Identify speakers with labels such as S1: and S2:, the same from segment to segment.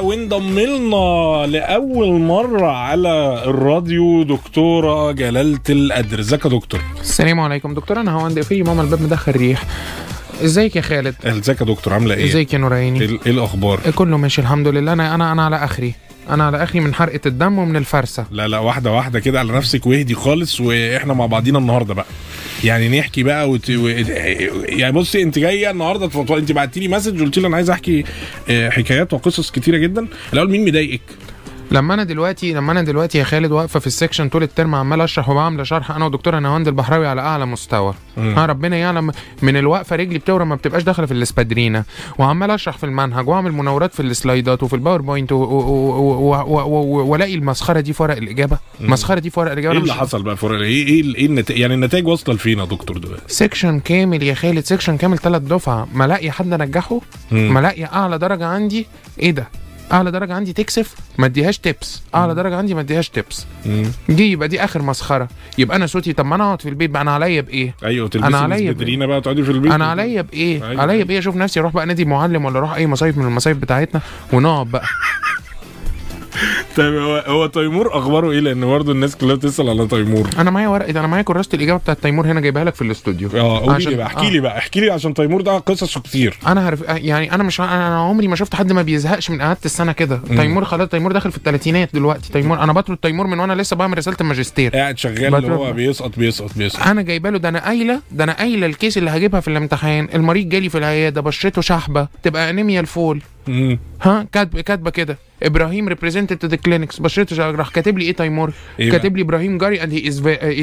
S1: وانضم لنا لاول مره على الراديو دكتوره جلاله القدر ازيك يا دكتور
S2: السلام عليكم دكتور انا هوند في ماما الباب مدخل ريح ازيك يا خالد
S1: ازيك يا دكتور عامله ايه
S2: ازيك يا
S1: ايه
S2: نوراني
S1: ال- إيه الاخبار
S2: كله ماشي الحمد لله انا انا انا على اخري انا على اخري من حرقه الدم ومن الفرسه
S1: لا لا واحده واحده كده على نفسك واهدي خالص واحنا مع بعضينا النهارده بقى يعني نحكي بقى وت... و... يعني بصي انت جايه النهارده تفضل انت بعتي لي مسج قلت لي انا عايز احكي آه، حكايات وقصص كتيره جدا الاول مين مضايقك
S2: لما انا دلوقتي لما انا دلوقتي يا خالد واقفه في السكشن طول الترم عمال اشرح وبعمل شرح انا ودكتوره نهاوند البحراوي على اعلى مستوى ها ربنا يعلم من الوقفه رجلي بتورم ما بتبقاش داخله في الاسبادرينا وعمال اشرح في المنهج واعمل مناورات في السلايدات وفي الباوربوينت و- و- و- و- و- و- والاقي المسخره دي في ورق الاجابه المسخره دي في ورق الاجابه
S1: ايه
S2: أنا مش-
S1: اللي حصل بقى فرق ايه ايه ال- ايه النتائج يعني النتائج واصله لفين يا دكتور دلوقتي
S2: سيكشن كامل يا خالد سيكشن كامل ثلاث دفعه ما الاقي حد انجحه
S1: مم.
S2: ما الاقي اعلى درجه عندي ايه ده اعلى درجه عندي تكسف ما اديهاش تيبس اعلى درجه عندي ما اديهاش تيبس
S1: مم.
S2: دي يبقى دي اخر مسخره يبقى انا صوتي طب ما انا اقعد في البيت بقى انا عليا بايه
S1: ايوه تلبسي
S2: عليا بإيه؟
S1: الاسبترينة بقى تقعدي في البيت
S2: انا عليا بايه
S1: أيوة.
S2: عليا بايه اشوف نفسي اروح بقى نادي معلم ولا اروح اي مصايف من المصايف بتاعتنا ونقعد بقى
S1: طيب هو هو تيمور اخباره ايه لان برضه الناس كلها بتسال على تيمور
S2: انا معايا ورقه انا معايا كراسه الاجابه بتاعت تيمور هنا جايبها لك في الاستوديو
S1: اه قولي
S2: عشان- آه.
S1: لي بقى احكي لي بقى احكي لي عشان تيمور ده قصصه كتير
S2: انا عارف يعني انا مش انا أنا عمري ما شفت حد ما بيزهقش من قعدة السنه كده تيمور خلاص تيمور داخل في الثلاثينات دلوقتي تيمور انا بطرد تيمور من وانا لسه بعمل رساله الماجستير
S1: قاعد شغال اللي هو
S2: بتربى.
S1: بيسقط بيسقط بيسقط
S2: انا جايبه له ده انا قايله ده انا قايله الكيس اللي هجيبها في الامتحان المريض جالي في العياده بشرته شحبه تبقى انيميا الفول
S1: مم.
S2: ها كاتب كاتبه كده ابراهيم ريبريزنتد ذا كلينكس بشرته شحبة. راح كاتب لي ايه تيمور
S1: إيه بقى؟
S2: كاتب لي ابراهيم جاري اند هي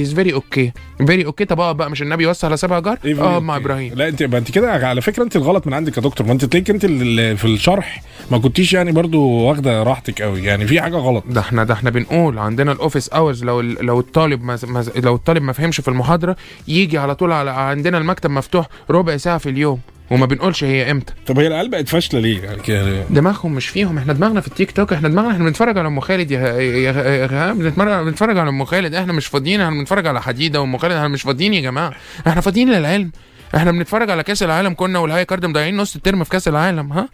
S2: از فيري اوكي فيري اوكي طب آه بقى مش النبي وصى على سبع جار
S1: إيه بقى؟
S2: اه مع ابراهيم
S1: لا انت ما انت كده على فكره انت الغلط من عندك يا دكتور ما انت تلاقيك انت اللي في الشرح ما كنتيش يعني برضه واخده راحتك قوي يعني في حاجه غلط
S2: ده احنا ده احنا بنقول عندنا الاوفيس اورز لو ال- لو الطالب ما ما لو الطالب ما فهمش في المحاضره يجي على طول على عندنا المكتب مفتوح ربع ساعه في اليوم وما بنقولش هي امتى
S1: طب هي العيال بقت فاشله ليه يعني كده-
S2: دماغهم مش فيهم احنا دماغنا في التيك توك احنا دماغنا احنا بنتفرج على ام خالد يا يا يا- يا- بنتفرج بنتفرج على ام خالد احنا مش فاضيين احنا بنتفرج على حديده وام خالد احنا مش فاضيين يا جماعه احنا فاضيين للعلم احنا بنتفرج على كاس العالم كنا والهاي كارد مضيعين نص الترم في كاس العالم ها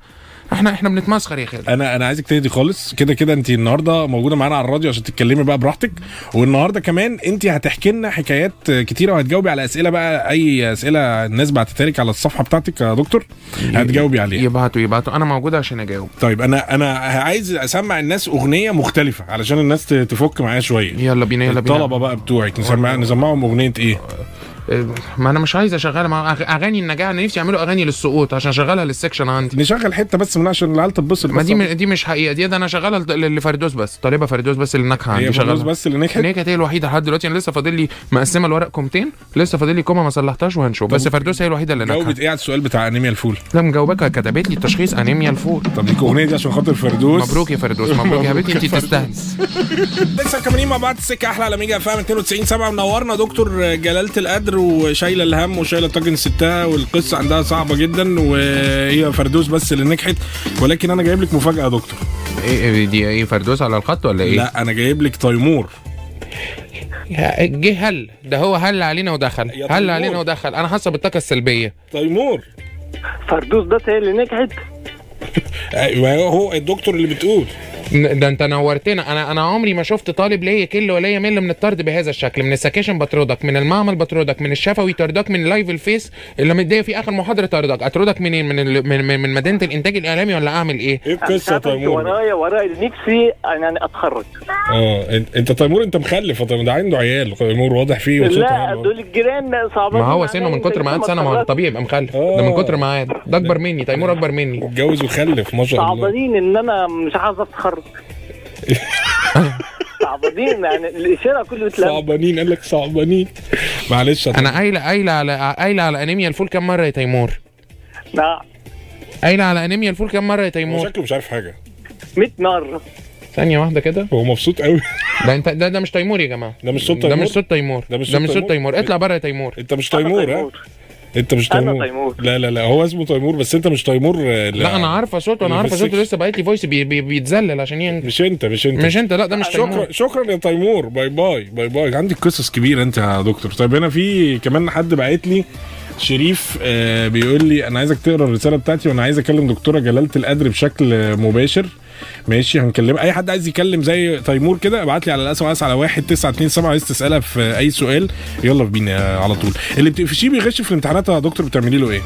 S2: احنا احنا بنتمسخر يا خالد
S1: انا انا عايزك تهدي خالص كده كده انت النهارده موجوده معانا على الراديو عشان تتكلمي بقى براحتك والنهارده كمان انت هتحكي لنا حكايات كتيره وهتجاوبي على اسئله بقى اي اسئله الناس بعتتها لك على الصفحه بتاعتك يا دكتور هتجاوبي عليها
S2: يبعتوا يبعتوا انا موجوده عشان اجاوب
S1: طيب انا انا عايز اسمع الناس اغنيه مختلفه علشان الناس ت- تفك معايا شويه
S2: يلا بينا يلا بينا
S1: الطلبه بقى بتوعك نسمع نسمعهم اغنيه ايه
S2: ما انا مش عايز اشغلها مع أغ- اغاني النجاح انا نفسي يعملوا اغاني للسقوط عشان اشغلها للسكشن عندي
S1: نشغل حته بس منها عشان العيال تتبسط
S2: ما
S1: بس.
S2: دي م- دي مش حقيقه دي ده انا شغالها لط- ل- لفردوس بس طالبه فردوس بس اللي ناجحه
S1: هي
S2: عندي
S1: فلوس
S2: شغالها
S1: بس اللي نجحت
S2: إن هي كانت هي الوحيده لحد دلوقتي انا لسه فاضل لي مقسمه الورق كومتين لسه فاضل لي كومه ما صلحتهاش وهنشوف بس فردوس هي الوحيده اللي ناجحه
S1: جاوبت ايه على السؤال بتاع انيميا الفول
S2: لا مجاوبك كتبت لي تشخيص انيميا الفول
S1: طب دي اغنيه دي عشان خاطر فردوس
S2: مبروك يا فردوس مبروك يا حبيبتي انت تستاهلي
S1: لسه مكملين مع بعض السكه احلى على ميجا فاهم 92 7 منورنا دكتور جلاله القدر وشايله الهم وشايله طاجن ستها والقصه عندها صعبه جدا وهي فردوس بس اللي نجحت ولكن انا جايب لك مفاجاه يا دكتور
S2: ايه إيه دي ايه فردوس على الخط ولا ايه؟
S1: لا انا جايب لك تيمور
S2: لا جه هل ده هو هل علينا ودخل
S1: يا
S2: هل
S1: طيور.
S2: علينا ودخل انا حاسه بالطاقه السلبيه
S1: تيمور
S3: فردوس ده هي اللي نجحت
S1: ايوه هو الدكتور اللي بتقول إيه
S2: ن- ده انت نورتنا انا انا عمري ما شفت طالب ليا كل ولا يمل من الطرد بهذا الشكل من السكاشن بطردك من المعمل بطردك من الشفوي طردك من لايف الفيس اللي مديه في اخر محاضره طردك اطردك منين من ال... من, من, من مدينه الانتاج الاعلامي ولا اعمل ايه
S1: ايه القصه يا تيمور
S3: ورايا ورايا نفسي انا أنا يعني اتخرج
S1: اه أنت- انت تيمور انت مخلف يا تيمور ده عنده عيال تيمور واضح فيه وصوته
S3: لا
S1: عالي.
S3: دول الجيران صعبين
S2: ما هو سنه من كتر ما قعد سنه ما هو طبيعي يبقى مخلف ده من كتر ما قعد ده اكبر مني تيمور اكبر مني
S1: اتجوز وخلف
S2: يعني.
S1: ما شاء الله
S3: صعبانين ان انا مش عايز اتخرج صعبانين يعني الاشاره كله اتلم
S1: صعبانين قال لك صعبانين معلش يا
S2: انا قايله قايله على قايله على انيميا الفول كام مره يا تيمور
S3: نعم،
S2: قايله على انيميا الفول كام مره يا
S1: هو
S2: تيمور
S1: شكله مش عارف حاجه
S3: 100 مره
S2: ثانيه واحده كده
S1: هو مبسوط قوي
S2: ده انت ده, ده مش تيمور يا جماعه
S1: ده مش صوت
S2: ده
S1: تيمور؟
S2: مش صوت تيمور
S1: ده مش
S2: ده
S1: صوت
S2: مش صوت
S1: تيمور؟
S2: تيمور اطلع بره يا تيمور
S1: انت مش تيمور ها انت مش
S3: أنا
S1: تيمور
S3: تيمور.
S1: لا لا لا هو اسمه تيمور بس انت مش تيمور آه،
S2: لا انا عارفه صوته انا
S1: اللي
S2: عارفه
S1: في
S2: صوته
S1: السكشن.
S2: لسه باعت لي فويس بي بي بيتذلل عشان ينجح
S1: مش انت مش انت
S2: مش انت لا ده مش تيمور
S1: شكرا شكرا يا تيمور باي باي باي باي عندك قصص كبيره انت يا دكتور طيب هنا في كمان حد بعت لي شريف آه بيقول لي انا عايزك تقرا الرساله بتاعتي وانا عايز اكلم دكتوره جلاله القدر بشكل آه، مباشر ماشي هنكلم اي حد عايز يكلم زي تيمور كده ابعت لي على الاس ام اس على 1 9 2 7 عايز تسالها في اي سؤال يلا بينا على طول اللي بتقفشيه بيغش في الامتحانات يا دكتور بتعملي له ايه؟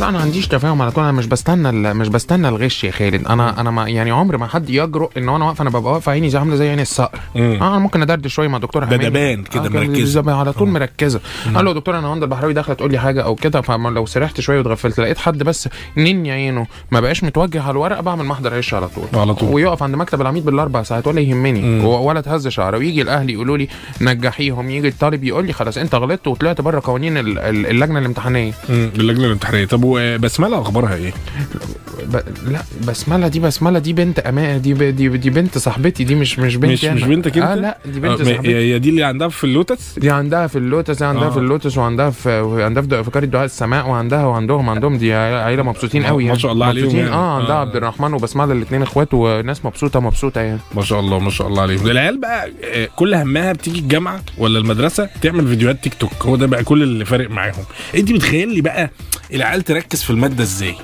S2: لا انا عنديش تفاهم على طول انا مش بستنى ال- مش بستنى الغش يا خالد انا انا ما يعني عمري ما حد يجرؤ ان انا واقف انا ببقى واقف عيني زي عامله زي عين الصقر
S1: مم.
S2: اه انا ممكن ادردش شويه مع دكتور حميد.
S1: دبان كده
S2: آه،
S1: مركزة.
S2: زي- على طول مركزه قال له يا دكتور انا هند البحراوي داخله تقول لي حاجه او كده فلو سرحت شويه واتغفلت لقيت حد بس نني عينه ما بقاش متوجه على الورقه بعمل محضر عش على طول
S1: على طول.
S2: ويقف عند مكتب العميد بالاربع ساعات ولا يهمني و- ولا تهز شعره ويجي الاهل يقولوا لي نجحيهم يجي الطالب يقول لي خلاص انت غلطت وطلعت بره قوانين ال- ال- اللجنه الامتحانيه
S1: امم اللجنه الامتحانيه طب وبسمله اخبارها ايه؟
S2: ب... لا بسمله دي بسمله دي بنت امان دي ب... دي... دي بنت صاحبتي دي مش مش بنتي
S1: مش
S2: أنا.
S1: مش بنتك انت؟
S2: اه لا دي بنت
S1: آه، ما-
S2: صاحبتي
S1: هي دي اللي عندها في اللوتس؟
S2: دي عندها في اللوتس دي عندها
S1: آه.
S2: آه. في اللوتس وعندها في وعندها في افكار الدعاء السماء وعندها وعندهم عندهم دي عيله عيلة مبسوطين
S1: ما-
S2: قوي
S1: ما
S2: يعني
S1: شاء الله عليهم
S2: مبسوطين.
S1: يعني.
S2: اه عندها
S1: آه.
S2: عبد الرحمن وبسمله الاثنين اخوات وناس مبسوطه مبسوطه يعني
S1: ما شاء الله ما شاء الله عليهم العيال بقى آه، كل همها بتيجي الجامعه ولا المدرسه تعمل فيديوهات تيك توك هو ده بقى كل اللي فارق معاهم انت بتخيلي بقى العيال تركز في الماده ازاي؟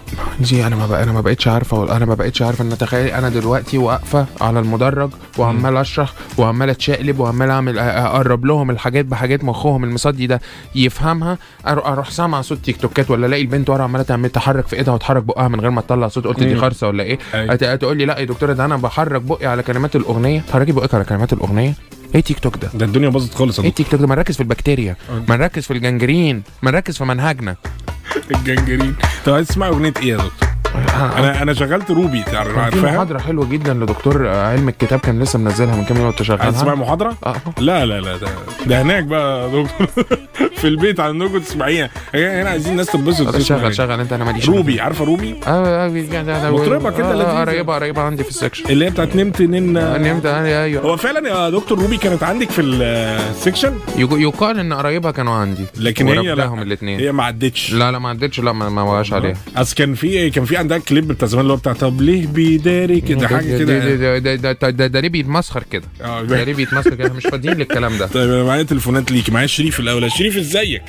S2: دي انا ما بقى انا ما بقتش عارفه وال- انا ما بقتش عارفه ان اتخيل انا دلوقتي واقفه على المدرج وعمال اشرح وعمال اتشقلب وعمال اعمل أ- اقرب لهم الحاجات بحاجات مخهم المصدي ده يفهمها أر- اروح سامع صوت تيك توكات ولا الاقي البنت ورا عماله تعمل تحرك في ايدها وتحرك بقها من غير ما تطلع صوت قلت دي
S1: مم.
S2: خرصه ولا ايه
S1: أيوة.
S2: أت- تقول لي لا يا دكتوره ده انا بحرك بقي على كلمات الاغنيه تحركي بقك على كلمات الاغنيه ايه تيك توك ده
S1: ده الدنيا باظت خالص
S2: ايه
S1: يا
S2: تيك توك ده ما نركز في البكتيريا ما نركز في الجنجرين ما نركز في منهجنا
S1: دكتور. الجنجرين طب عايز تسمعي اغنيه ايه يا دكتور؟ انا انا شغلت روبي تعرف-
S2: كان في
S1: عارفاها؟
S2: آه. محاضرة حلوة جدا لدكتور آه، علم الكتاب كان لسه منزلها من كام يوم
S1: عايز تسمعي
S2: وتشغلها
S1: محاضره؟
S2: اه
S1: لا لا لا ده ده هناك بقى يا دكتور في البيت عندكم تسمعيها هنا عايزين الناس تتبسط
S2: آه، شغل
S1: تسمع.
S2: شغل انت انا ماليش
S1: روبي عارفه روبي؟
S2: اه اه بيجي- ده- ده-
S1: مطربة كده
S2: آه، آه،
S1: لذيذة.
S2: قريبة قريبة عندي في السكشن
S1: اللي هي بتاعت نمت نن
S2: نمت آه، ايوه
S1: هو فعلا يا دكتور روبي كانت عندك في السكشن
S2: يق- يقال ان قرايبها كانوا عندي
S1: لكن هي
S2: ورباهم
S1: لا
S2: الاثنين
S1: هي ما عدتش
S2: لا لا ما عدتش لا ما ما وقعش عليها
S1: اصل كان في إيه؟ كان في عندها كليب بتاع زمان اللي هو بتاع طب ليه بيداري كده يعني. حاجه
S2: ده- ده-
S1: كده
S2: ده- ده- ده- ده- ده- ده ليه بيتمسخر كده
S1: آه،
S2: ده ليه بيتمسخر كده إحنا مش فاضيين للكلام ده
S1: طيب انا معايا تليفونات ليك معايا شريف الاول يا شريف ازيك؟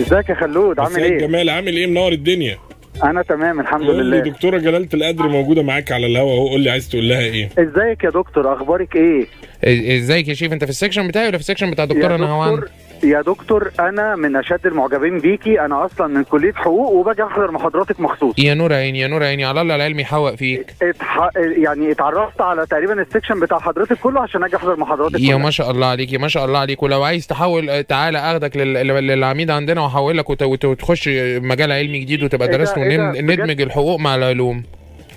S3: ازيك يا خلود عامل
S1: مساء
S3: ايه؟
S1: الجمال عامل ايه منور الدنيا؟
S3: انا تمام الحمد
S1: قول لي
S3: لله
S1: دكتوره جلاله القدر موجوده معاك على الهوا اهو قول لي عايز تقول لها ايه؟
S3: ازيك يا دكتور اخبارك ايه؟
S2: إيه- ازيك يا شيف انت في السكشن بتاعي ولا في السكشن بتاع دكتور
S3: يا
S2: نهوان
S3: دكتور يا دكتور انا من اشد المعجبين بيكي انا اصلا من كليه حقوق وباجي احضر محاضراتك مخصوص
S2: يا نور عيني يا نور عيني على الله العلم يحوق فيك
S3: اتح... يعني اتعرفت على تقريبا السكشن بتاع حضرتك كله عشان اجي احضر محاضراتك
S2: يا
S3: كلها.
S2: ما شاء الله عليك يا ما شاء الله عليك ولو عايز تحول آه، تعالى اخدك لل- لل- للعميد عندنا واحولك وت- وت- وتخش مجال علمي جديد وتبقى
S3: إيه ده-
S2: درسنا
S3: إيه ده؟
S2: ونن- ندمج الحقوق مع العلوم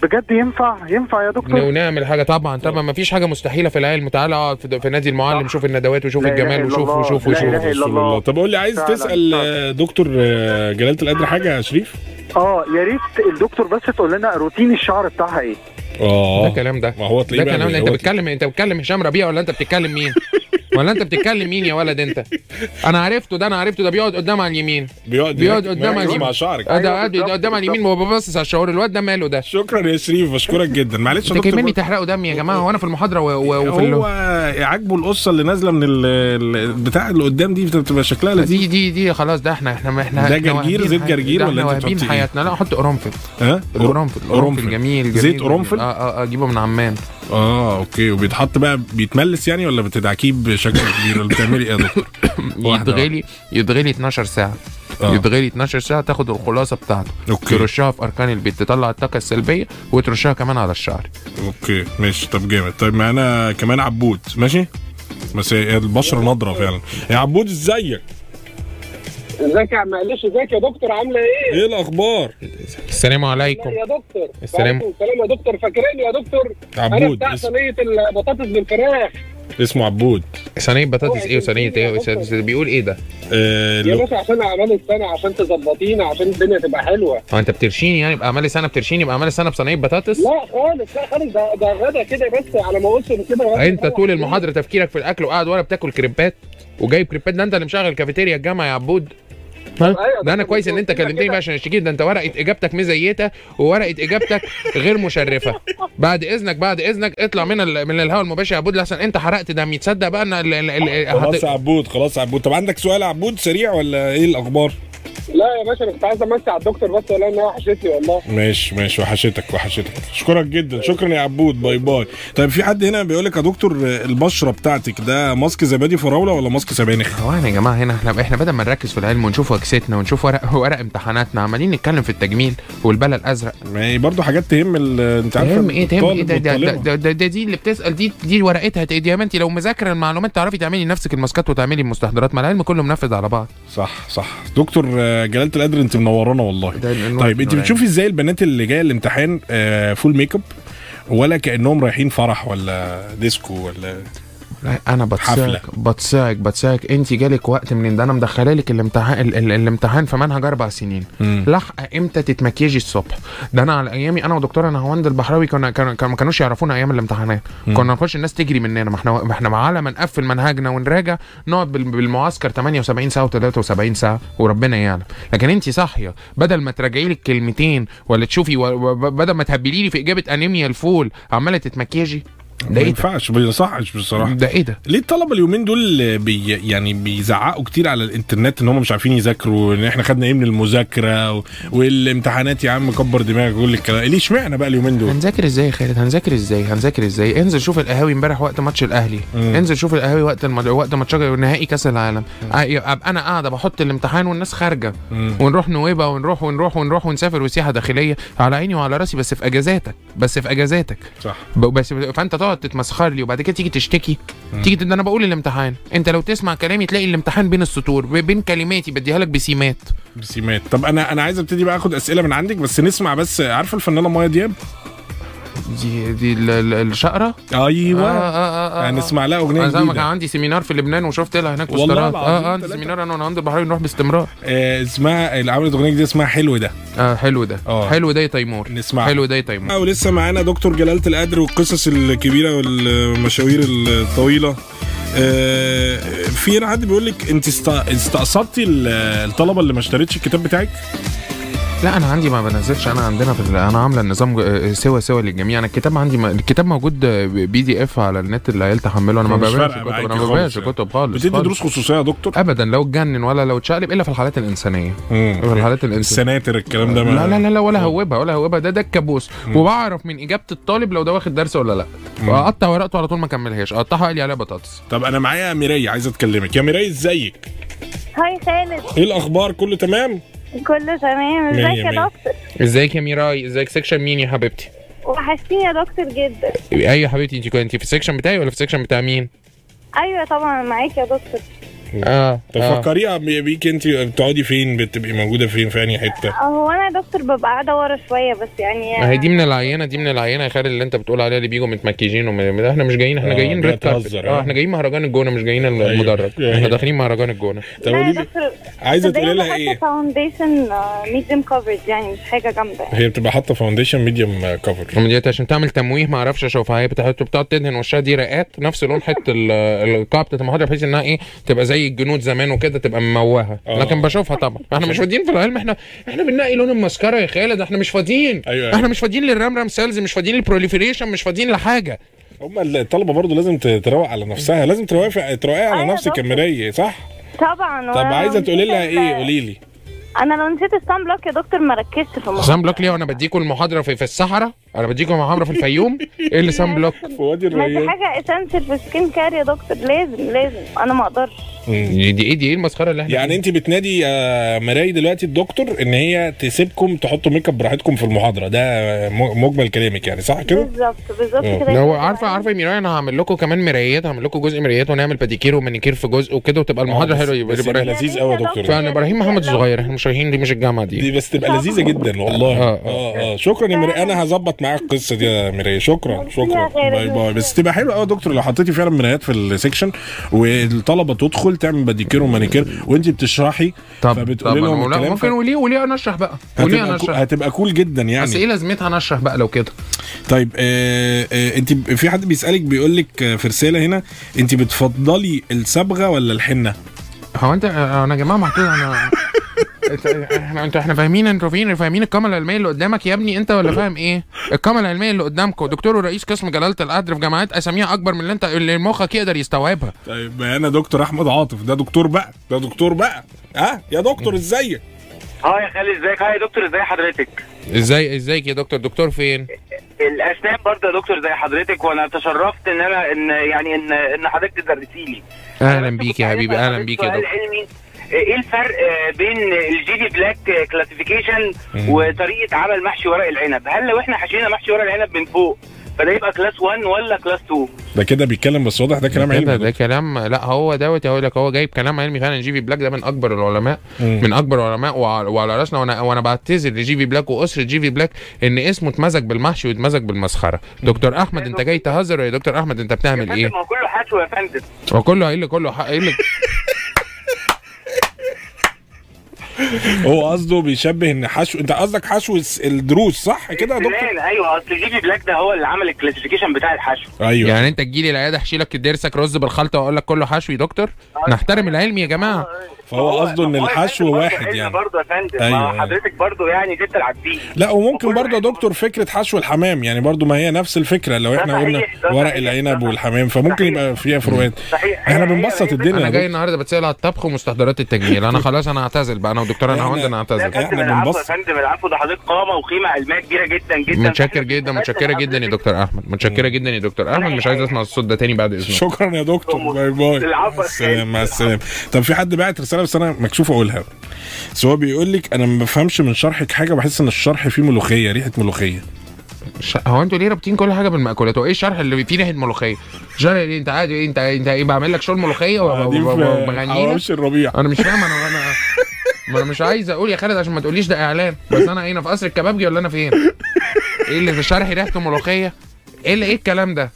S3: بجد ينفع ينفع يا دكتور
S2: ونعمل حاجه طبعا طبعا ما فيش حاجه مستحيله في العلم تعالى اقعد في- في نادي المعلم شوف الندوات وشوف
S3: لا إله
S2: الجمال
S3: إلا
S2: وشوف
S3: الله.
S2: وشوف
S3: لا
S2: وشوف
S3: إله إلا
S1: رسول
S3: الله.
S1: طب قول لي عايز
S3: فعلاً،
S1: تسال
S3: فعلاً.
S1: آه، دكتور آه، جلاله القدر حاجه يا شريف؟
S3: اه يا ريت الدكتور بس تقول لنا روتين الشعر بتاعها ايه
S1: اه
S2: ده كلام ده
S1: ما هو
S2: ده
S1: تلاقيه بقى
S2: كلام ده انت
S1: هو
S2: بتتكلم انت بتتكلم هشام ربيع ولا انت بتتكلم مين ولا انت بتتكلم مين يا ولد انت انا عرفته ده انا عرفته ده بيقعد قدام على اليمين
S1: بيقعد
S2: بيقعد
S1: مركز-
S2: قدام
S1: مركز
S2: اليمين.
S1: مع شعرك
S2: ده
S3: أيوة
S2: قاعد
S3: بالظبط،
S2: قدام على اليمين وببصص على الشعور الواد ده ماله ده
S1: شكرا يا شريف بشكرك جدا معلش يا
S2: انت
S1: دكتور
S2: كمني تحرقوا دمي يا جماعه وانا في المحاضره و- و- وفي
S1: هو
S2: ال-
S1: عاجبه القصه اللي نازله من ال- ال- بتاع اللي قدام دي بتبقى شكلها لذيذ
S2: دي دي دي خلاص ده احنا احنا احنا
S1: ده
S2: احنا
S1: جرجير،
S2: واهبين
S1: زيت
S2: حي-
S1: جرجير
S2: ده
S1: ولا
S2: احنا
S1: انت
S2: واهبين
S1: بتحط ايه؟
S2: حياتنا لا احط قرنفل
S1: ها
S2: القرنفل القرنفل جميل جميل
S1: زيت
S2: جميل.
S1: قرنفل
S2: اه اه اجيبه من عمان
S1: اه اوكي وبيتحط بقى بيتملس يعني ولا بتدعكيه بشكل كبير ولا بتعملي ايه يا دكتور واحدة
S2: يتغلي يتغلي 12 ساعه
S1: آه.
S2: يتغلي 12 ساعه تاخد الخلاصه بتاعته
S1: أوكي.
S2: ترشها في اركان البيت تطلع الطاقه السلبيه وترشها كمان على الشعر
S1: اوكي ماشي طب جامد طيب معانا كمان عبود ماشي بس هي البشره نضره فعلا يا عبود ازيك
S4: ازيك يا عم معلش ازيك يا دكتور عامله ايه؟
S1: ايه الاخبار
S2: السلام عليكم
S4: يا دكتور
S2: السلام.
S4: وعليكم السلام يا دكتور فاكرني يا دكتور انا
S1: عبود
S4: بتاع
S1: اسم-
S4: صينيه البطاطس بالفراخ
S1: اسمه عبود
S2: صينيه بطاطس ايه وصينيه ايه وصينية- بيقول ايه ده؟
S1: آه،
S4: يا
S1: لو-
S4: باشا عشان اعمال السنه عشان تظبطينا عشان الدنيا تبقى حلوه
S2: هو انت بترشيني يعني يبقى عمال سنه بترشيني يبقى عمال سنه بصينيه بطاطس؟
S4: لا خالص لا خالص ده ده غدا كده بس على ما اوصل كده وأنا
S2: انت
S4: بروح
S2: أه، طول
S4: البيت.
S2: المحاضره تفكيرك في الاكل وقاعد ورا بتاكل كريبات وجايب كريبات ده انت اللي مشغل كافيتيريا الجامعه يا عبود
S4: أيوة،
S2: ده انا
S4: طب
S2: كويس ان انت
S4: كده-
S2: كلمتني
S4: كده-
S2: بقى عشان اشتكيت ده انت ورقه اجابتك مزيته وورقه اجابتك غير مشرفه بعد اذنك بعد اذنك اطلع من ال... من الهوا المباشر يا عبود لحسن انت حرقت دمي تصدق بقى ان ال... ال... ال...
S1: خلاص
S2: هت-
S1: يا عبود خلاص يا عبود طب عندك سؤال يا عبود سريع ولا ايه الاخبار
S4: لا يا باشا انا كنت عايز امسي على الدكتور بس ولا انا وحشتني والله
S1: ماشي ماشي وحشتك وحشتك اشكرك جدا شكرا يا عبود باي باي طيب في حد هنا بيقول لك يا دكتور البشره بتاعتك ده ماسك زبادي فراوله ولا ماسك سبانخ
S2: هو احنا يا جماعه هنا احنا احنا بدل ما نركز في العلم ونشوف وكستنا ونشوف ورق ورق امتحاناتنا عمالين نتكلم في التجميل والبلا الازرق
S1: ما هي برضه حاجات تهم ال- انت عارف
S2: تهم ايه تهم ايه
S1: الطالب
S2: ده ده,
S1: والطالبة.
S2: ده, ده, ده دي اللي بتسال دي دي ورقتها تقدر يا ما انت لو مذاكره المعلومات تعرفي تعملي لنفسك الماسكات وتعملي المستحضرات ما العلم كله منفذ على بعض
S1: صح صح دكتور آه، جلاله القدر انت منورانا والله
S2: ده النور
S1: طيب انت
S2: نوراني.
S1: بتشوفي ازاي البنات اللي جايه الامتحان آه، فول ميك اب ولا كانهم رايحين فرح ولا ديسكو ولا
S2: لا، انا
S1: حفلة.
S2: بتصاعك بتصاعك بتصاعك انت جالك وقت من ده انا مدخله لك الامتحان ال- ال- الامتحان في منهج اربع سنين لحقه امتى تتمكيجي الصبح ده انا على ايامي انا ودكتوره نهاوند البحراوي كنا كانوا كانوا- ما كانوش يعرفونا ايام الامتحانات كنا نخش الناس تجري مننا ما احنا ما احنا على ما نقفل منهجنا ونراجع نقعد بال- بالمعسكر 78 ساعه و73 ساعه وربنا يعلم لكن انت صاحيه بدل ما تراجعي لك كلمتين ولا تشوفي و- و- بدل ما تهبلي لي في اجابه انيميا الفول عماله تتمكيجي
S1: ما
S2: ده ايه ده؟
S1: ينفعش ما يصحش بصراحه
S2: ده ايه ده؟
S1: ليه الطلبه اليومين دول بي يعني بيزعقوا كتير على الانترنت ان هم مش عارفين يذاكروا ان احنا خدنا ايه من المذاكره و... والامتحانات يا عم كبر دماغك كل الكلام ليه اشمعنى بقى اليومين دول
S2: هنذاكر ازاي يا خالد هنذاكر ازاي هنذاكر ازاي انزل شوف القهاوي امبارح وقت ماتش الاهلي
S1: مم.
S2: انزل شوف القهاوي وقت المد... وقت ماتش نهائي كاس العالم آه، يبقى انا قاعده بحط الامتحان والناس خارجه
S1: مم.
S2: ونروح نويبه ونروح ونروح ونروح ونسافر وسياحه داخليه على عيني وعلى راسي بس في اجازاتك بس في اجازاتك
S1: صح
S2: ب- بس فانت تقعد تتمسخر لي وبعد كده تيجي تشتكي تيجي ده انا بقول الامتحان انت لو تسمع كلامي تلاقي الامتحان بين السطور ب- بين كلماتي بديها لك بسيمات
S1: بسيمات طب انا انا عايز ابتدي بقى اخد اسئله من عندك بس نسمع بس عارفه الفنانه مايا دياب
S2: دي دي ال- ال- الشقره
S1: ايوه
S2: آه، آه، آه، آه.
S1: هنسمع لها اغنيه
S2: انا زي ما كان
S1: جديده
S2: عندي سيمينار في لبنان وشفت لها هناك
S1: والله
S2: بوسترات
S1: العظيم
S2: اه اه عندي
S1: ثلاثة.
S2: سيمينار انا ونهاند البحراوي نروح باستمرار
S1: آه اسمها اللي عملت اغنيه جديده اسمها حلو ده
S2: اه حلو ده
S1: آه.
S2: حلو ده يا تيمور
S1: نسمعها.
S2: حلو ده يا تيمور
S1: ولسه معانا دكتور جلالة القدر والقصص الكبيرة والمشاوير الطويلة آه، في هنا حد بيقول لك انت است- استقصدتي ال- الطلبه اللي ما اشترتش الكتاب بتاعك
S2: لا انا عندي ما بنزلش انا عندنا في ال- انا عامله النظام ج- آه، سوا سوا للجميع انا الكتاب عندي ما... الكتاب موجود آه، بي دي اف على النت اللي عيال تحمله انا ما
S1: مش
S2: ببيعش
S1: فارقة
S2: كتب
S1: معاكي
S2: انا ما
S1: خالص
S2: ببيعش
S1: يعني.
S2: كتب خالص
S1: بتدي
S2: خالص.
S1: دروس خصوصيه يا دكتور
S2: ابدا لو اتجنن ولا لو اتشقلب الا في الحالات الانسانيه في
S1: مم.
S2: الحالات الانسانيه
S1: السناتر الكلام ده ما-
S2: لا لا لا لا ولا هوبها ولا هوبها ده ده الكابوس وبعرف من اجابه الطالب لو ده واخد درس ولا لا اقطع ورقته على طول ما كملهاش اقطعها قال لي عليها بطاطس
S1: طب انا معايا ميري عايز اتكلمك يا ميري ازيك
S5: هاي خالد
S1: ايه الاخبار كله تمام
S5: كله تمام
S1: مية
S5: ازيك
S1: مية.
S5: يا دكتور
S2: ازيك يا ميراي ازيك سيكشن مين يا حبيبتي
S5: وحشتيني يا دكتور جدا
S2: ايوه يا حبيبتي انت كنت في السيكشن بتاعي ولا في السيكشن بتاع مين
S5: ايوه طبعا معاك يا دكتور
S2: اه
S1: طب فكريها بيك انت بتقعدي فين بتبقي موجوده فين في انهي حته
S5: هو انا يا دكتور ببقى قاعده ورا شويه بس يعني
S2: ما هي دي من العينه دي من العينه يا خالد اللي انت بتقول عليها اللي بيجوا متمكيجين وم... ده أيوه. احنا مش جايين احنا
S1: آه،
S2: جايين
S1: ده
S2: ريد كاربت
S1: تهزر،
S2: اه
S1: آه.
S2: احنا جايين مهرجان الجونه مش جايين
S1: أيوة.
S2: المدرج
S1: أيوة.
S2: احنا داخلين مهرجان الجونه
S1: طب
S5: لا
S1: قولي
S5: يا
S1: لي
S5: دكتور
S1: عايزه تقولي
S5: صدقني
S1: لها
S5: بحط
S1: ايه
S5: فاونديشن ميديم كفرج يعني مش حاجه جامده
S1: هي بتبقى حاطه فاونديشن ميديوم كفر
S2: هم ديت عشان تعمل تمويه ما اعرفش اشوفها هي بتحط بتقعد تدهن وشها دي رقات نفس لون حته ال- القاعه بتاعت المحاضره بحيث انها ايه تبقى زي الجنود زمان وكده تبقى موهه
S1: آه.
S2: لكن بشوفها طبعا احنا مش فاضيين في العلم احنا احنا بننقي لون المسكره يا خالد احنا مش فاضيين
S1: أيوة، أيوة.
S2: احنا مش فاضيين للرمرم سيلز مش فاضيين للبروليفريشن مش فاضيين لحاجه
S1: هم الطلبه برضه لازم ت- تروق على نفسها لازم تروقي تروقي على
S5: أيوة
S1: نفسك يا
S5: طبعا.
S1: ميري صح
S5: طبعا
S1: طب عايزه تقولي لها ايه قولي لي
S5: انا لو نسيت الصن بلوك يا دكتور ما ركزتش في الموضوع
S2: سان بلوك ليه وانا بديكوا المحاضره في, في الصحراء انا بديكوا المحاضره في الفيوم ايه اللي سان بلوك
S1: في وادي
S5: ما دي
S1: الريان
S5: حاجه اسانسيال في السكين كير يا دكتور لازم لازم انا ما اقدرش
S1: مم.
S2: دي ايه دي ايه المسخره اللي احنا
S1: يعني انت بتنادي يا مراي دلوقتي الدكتور ان هي تسيبكم تحطوا ميك اب براحتكم في المحاضره ده م- مجمل كلامك يعني صح كده؟
S5: بالظبط بالظبط
S1: آه.
S5: كده يعني.
S2: ده هو عارفه عارفه يا ميراي انا هعمل لكم كمان مرايات هعمل لكم جزء مرايات ونعمل باديكير ومانيكير في جزء وكده وتبقى المحاضره
S1: آه، بس-
S2: حلوه يبقى
S1: بس يبقى
S2: يبقى
S1: لذيذ قوي يا دكتور
S2: فانا ابراهيم محمد الصغير احنا مش رايحين دي مش الجامعه دي
S1: دي بس تبقى لذيذه جدا والله
S2: آه، آه.
S1: اه اه شكرا يا مراي انا هظبط معاك القصه دي يا مراي شكرا شكرا
S5: يا
S1: باي
S5: غالي.
S1: باي بس تبقى حلوه قوي يا دكتور لو حطيتي فعلا مرايات في السكشن والطلبه تدخل تعمل باديكير ومانيكير وانت بتشرحي
S2: طب طب
S1: فبتقولي
S2: أنا
S1: لهم
S2: ولا-
S1: الكلام
S2: ممكن وليه وليه انا اشرح بقى وليه انا
S1: هتبقى, كو...
S2: اشرح
S1: هتبقى كول جدا يعني
S2: بس ايه لازمتها انا اشرح بقى لو كده
S1: طيب آه آه انت ب- في حد بيسالك بيقول لك آه، في رساله هنا انت بتفضلي الصبغه ولا الحنه؟
S2: هو انت انا يا جماعه محطوط انا احنا انتوا احنا فاهمين انتوا فين فاهمين القامه العلميه اللي قدامك يا ابني انت ولا فاهم ايه؟ القامه العلميه اللي قدامكم دكتور ورئيس قسم جلاله القدر في جامعات اساميها اكبر من اللي انت اللي مخك يقدر يستوعبها
S1: طيب ما انا دكتور احمد عاطف ده دكتور بقى ده دكتور بقى ها يا دكتور ازيك
S6: اه يا خالد ازيك اه يا دكتور ازي حضرتك
S2: ازاي ازيك يا دكتور دكتور فين؟
S6: الاسنان برضه يا دكتور زي حضرتك وانا تشرفت ان انا ان يعني ان ان حضرتك تدرسي لي
S2: اهلا بيك يا حبيبي
S6: يعني
S2: اهلا بيك يا دكتور
S6: علمي ايه الفرق آه، بين الجي دي بلاك كلاسيفيكيشن وطريقه عمل محشي ورق العنب هل لو احنا حشينا محشي ورق العنب من فوق فده يبقى كلاس 1 ولا كلاس 2
S1: ده كده بيتكلم بس واضح ده كلام
S2: كده
S1: علمي
S2: ده كلام لا هو دوت هقول لك هو جايب كلام علمي فعلا جي في بلاك ده من اكبر العلماء
S1: مم.
S2: من اكبر العلماء وع- وعلى راسنا وانا وانا بعتذر لجي في بلاك واسره جي في بلاك ان اسمه اتمزج بالمحشي واتمزج بالمسخره دكتور احمد انت جاي تهزر يا دكتور احمد انت بتعمل ايه
S6: ما هو كله حشو يا فندم
S2: هو كله قايل لي كله حق قايل لي
S1: هو قصده بيشبه ان حشو انت قصدك حشو الس- الدروس صح كده يا دكتور
S6: السنان، ايوه اصل الجي دي بلاك ده هو اللي عمل الكلاسيفيكيشن بتاع الحشو
S1: ايوه
S2: يعني انت تجي لي العياده احشي لك درسك رز بالخلطه واقول لك كله حشو يا دكتور نحترم العلم يا جماعه
S1: فهو قصده ان
S6: هو يا فندم
S1: الحشو
S6: برضه
S1: واحد
S6: علم
S1: يعني.
S6: برضه يا فندم
S1: أيوة،
S6: ما
S1: أيوة.
S6: حضرتك برضه يعني جبت العبدين
S1: لا وممكن
S6: وكل
S1: برضه يا
S6: واحد-
S1: دكتور فكره حشو الحمام يعني برضه ما هي نفس الفكره لو احنا قلنا
S6: صحيح، ده
S1: ورق
S6: صحيح،
S1: العنب
S6: ده
S1: والحمام فممكن
S6: صحيح.
S1: يبقى فيها فروقات
S6: صحيح.
S1: احنا
S6: هي- هي-
S1: بنبسط
S6: هي-
S1: الدنيا يا
S2: انا جاي
S1: دكتور.
S2: النهارده بتسال على الطبخ ومستحضرات التجميل انا خلاص انا اعتزل بقى انا ودكتور انا
S1: احنا-
S2: هوند انا
S6: لا يا
S2: اعتزل
S1: احنا
S6: فندم العفو يا
S1: بنبسط.
S6: فندم العفو ده حضرتك قامه وقيمه علميه كبيره جدا جدا
S2: متشكر جدا متشكره جدا يا دكتور احمد متشكره جدا يا دكتور احمد مش عايز اسمع الصوت ده تاني بعد اذنك
S1: شكرا يا دكتور باي باي
S6: العفو يا
S1: السلامة،
S6: خالد.
S1: مع السلامه طب في حد بعت رساله بس انا مكشوف اقولها بس هو بيقول لك انا ما بفهمش من شرحك حاجه بحس ان الشرح فيه ملوخيه ريحه ملوخيه
S2: ش- هو انتوا ليه رابطين كل حاجه بالمأكولات هو ايه الشرح اللي فيه ريحه ملوخيه شرح ايه انت عادي ايه انت انت ايه بعمل لك شغل ملوخيه
S1: قاعدين في
S2: وبغنينا
S1: حواوشي الربيع
S2: انا مش فاهم انا انا ما انا مش عايز اقول يا خالد عشان ما تقوليش ده اعلان بس انا هنا في قصر الكبابجي ولا انا فين ايه اللي في شرحي ريحته ملوخيه ايه اللي ايه الكلام ده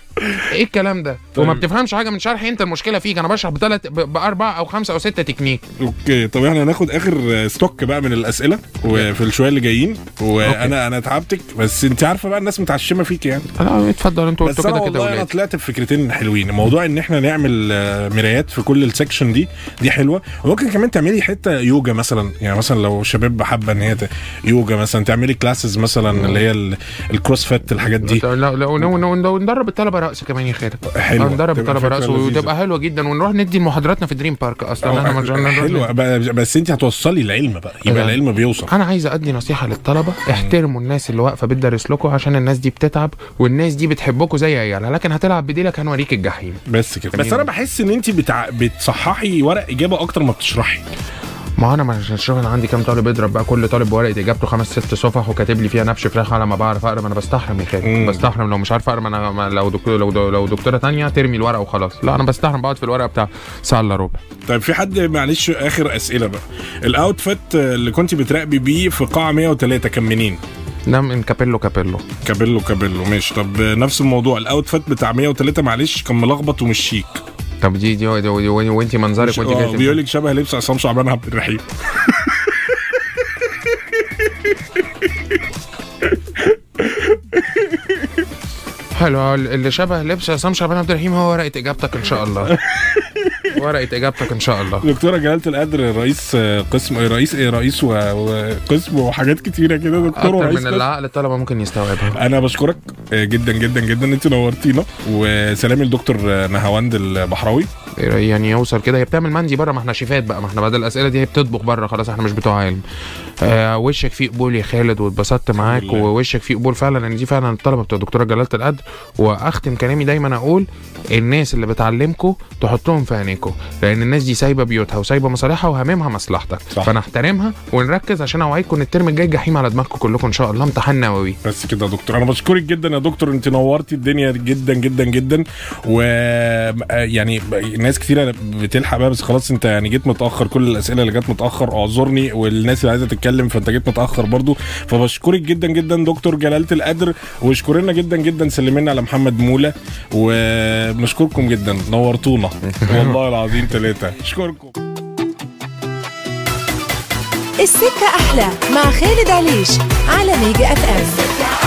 S2: ايه الكلام ده وما
S1: طيب.
S2: بتفهمش حاجه من شرحي انت المشكله فيك انا بشرح بثلاث باربع او خمسه او سته تكنيك
S1: اوكي طب احنا هناخد اخر ستوك بقى من الاسئله وفي الشويه اللي جايين وانا انا تعبتك بس انت عارفه بقى الناس متعشمه فيك يعني
S2: لا اتفضل انتوا
S1: بس
S2: قلتوا
S1: انا
S2: كده كده
S1: والله انا
S2: ولاد
S1: طلعت بفكرتين حلوين موضوع ان احنا نعمل آه، مرايات في كل السكشن دي دي حلوه وممكن كمان تعملي حته يوجا مثلا يعني مثلا لو شباب حابه ان هي ت- يوجا مثلا تعملي كلاسز مثلا اللي هي ال- الكروس فات الحاجات دي
S2: لا لا ون- ون- ون- وندرب الطلبه رقص كمان يا خالد
S1: حلوة.
S2: ندرب
S1: تبقى
S2: الطلبه
S1: فكرة
S2: رقص
S1: لذيذة.
S2: وتبقى حلوه جدا ونروح ندي محاضراتنا في دريم بارك اصلا احنا مش هنروح
S1: حلوه ب- بس انت هتوصلي العلم بقى يبقى
S2: تمام.
S1: العلم بيوصل
S2: انا عايز ادي نصيحه للطلبه احترموا الناس اللي واقفه بتدرس لكم عشان الناس دي بتتعب والناس دي بتحبكم زي عيالها لكن هتلعب بديلك هنوريك الجحيم
S1: بس كده بس
S2: تمام.
S1: انا بحس ان انت بتع... بتصححي ورق اجابه اكتر ما بتشرحي
S2: ما انا مش هشوف انا عندي كام طالب يضرب بقى كل طالب بورقه اجابته خمس ست صفح وكاتب لي فيها نبش فراخ على ما بعرف اقرا ما انا بستحرم يا
S1: مم.
S2: خالد بستحرم لو مش عارف اقرا ما انا ما- لو دكتور لو, لو دكتوره تانية ترمي الورقه وخلاص لا انا بستحرم بقعد في الورقه بتاع ساعه الا ربع
S1: طيب في حد معلش اخر اسئله بقى الاوتفيت اللي كنت بتراقبي بيه في قاعه 103 كان منين
S2: ده من نعم، كابيلو كابيلو
S1: كابيلو كابيلو ماشي طب نفس الموضوع الاوتفيت بتاع 103 معلش كان ملخبط ومش شيك
S2: طب دي دي, دي, دي وانت منظرك وانت جاي
S1: آه،
S2: تمشي.
S1: بيقول لك شبه لبس عصام شعبان عبد الرحيم
S2: حلو اللي شبه لبس عصام شعبان عبد الرحيم هو ورقه اجابتك ان شاء الله ورقه اجابتك ان شاء الله
S1: دكتوره جلاله القدر رئيس آه، قسم آه، رئيس ايه رئيس و- وقسم وحاجات كتيره كده دكتور
S2: اكتر
S1: ورئيس
S2: من
S1: قسم.
S2: اللي عقل الطلبه ممكن يستوعبها
S1: انا بشكرك آه، جدا جدا جدا انت نورتينا وسلامي لدكتور آه، نهاوند البحراوي
S2: يعني يوصل كده هي بتعمل مندي بره ما احنا شيفات بقى ما احنا بعد الاسئله دي هي بتطبخ بره خلاص احنا مش بتوع علم آه وشك فيه قبول يا خالد واتبسطت معاك
S1: لله.
S2: ووشك فيه قبول فعلا ان دي فعلا الطلبه بتوع دكتوره جلاله القدر واختم كلامي دايما اقول الناس اللي بتعلمكم تحطهم في عينيكم لان الناس دي سايبه بيوتها وسايبه مصالحها وهاممها مصلحتك
S1: صح.
S2: فنحترمها ونركز عشان اوعدكم ان الترم الجاي جحيم على دماغكم كلكم ان شاء الله امتحان نووي
S1: بس كده يا دكتور انا بشكرك جدا يا دكتور انت نورتي الدنيا جدا جدا جدا و آه، يعني ب- ناس كتيره بتلحق بقى بس خلاص انت يعني جيت متاخر كل الاسئله اللي جت متاخر اعذرني والناس اللي عايزه تتكلم فانت جيت متاخر برضو فبشكرك جدا جدا دكتور جلاله القدر واشكرنا جدا جدا سلمنا على محمد موله وبنشكركم جدا نورتونا والله العظيم ثلاثه اشكركم
S7: السكة أحلى مع خالد عليش على ميجا أف أم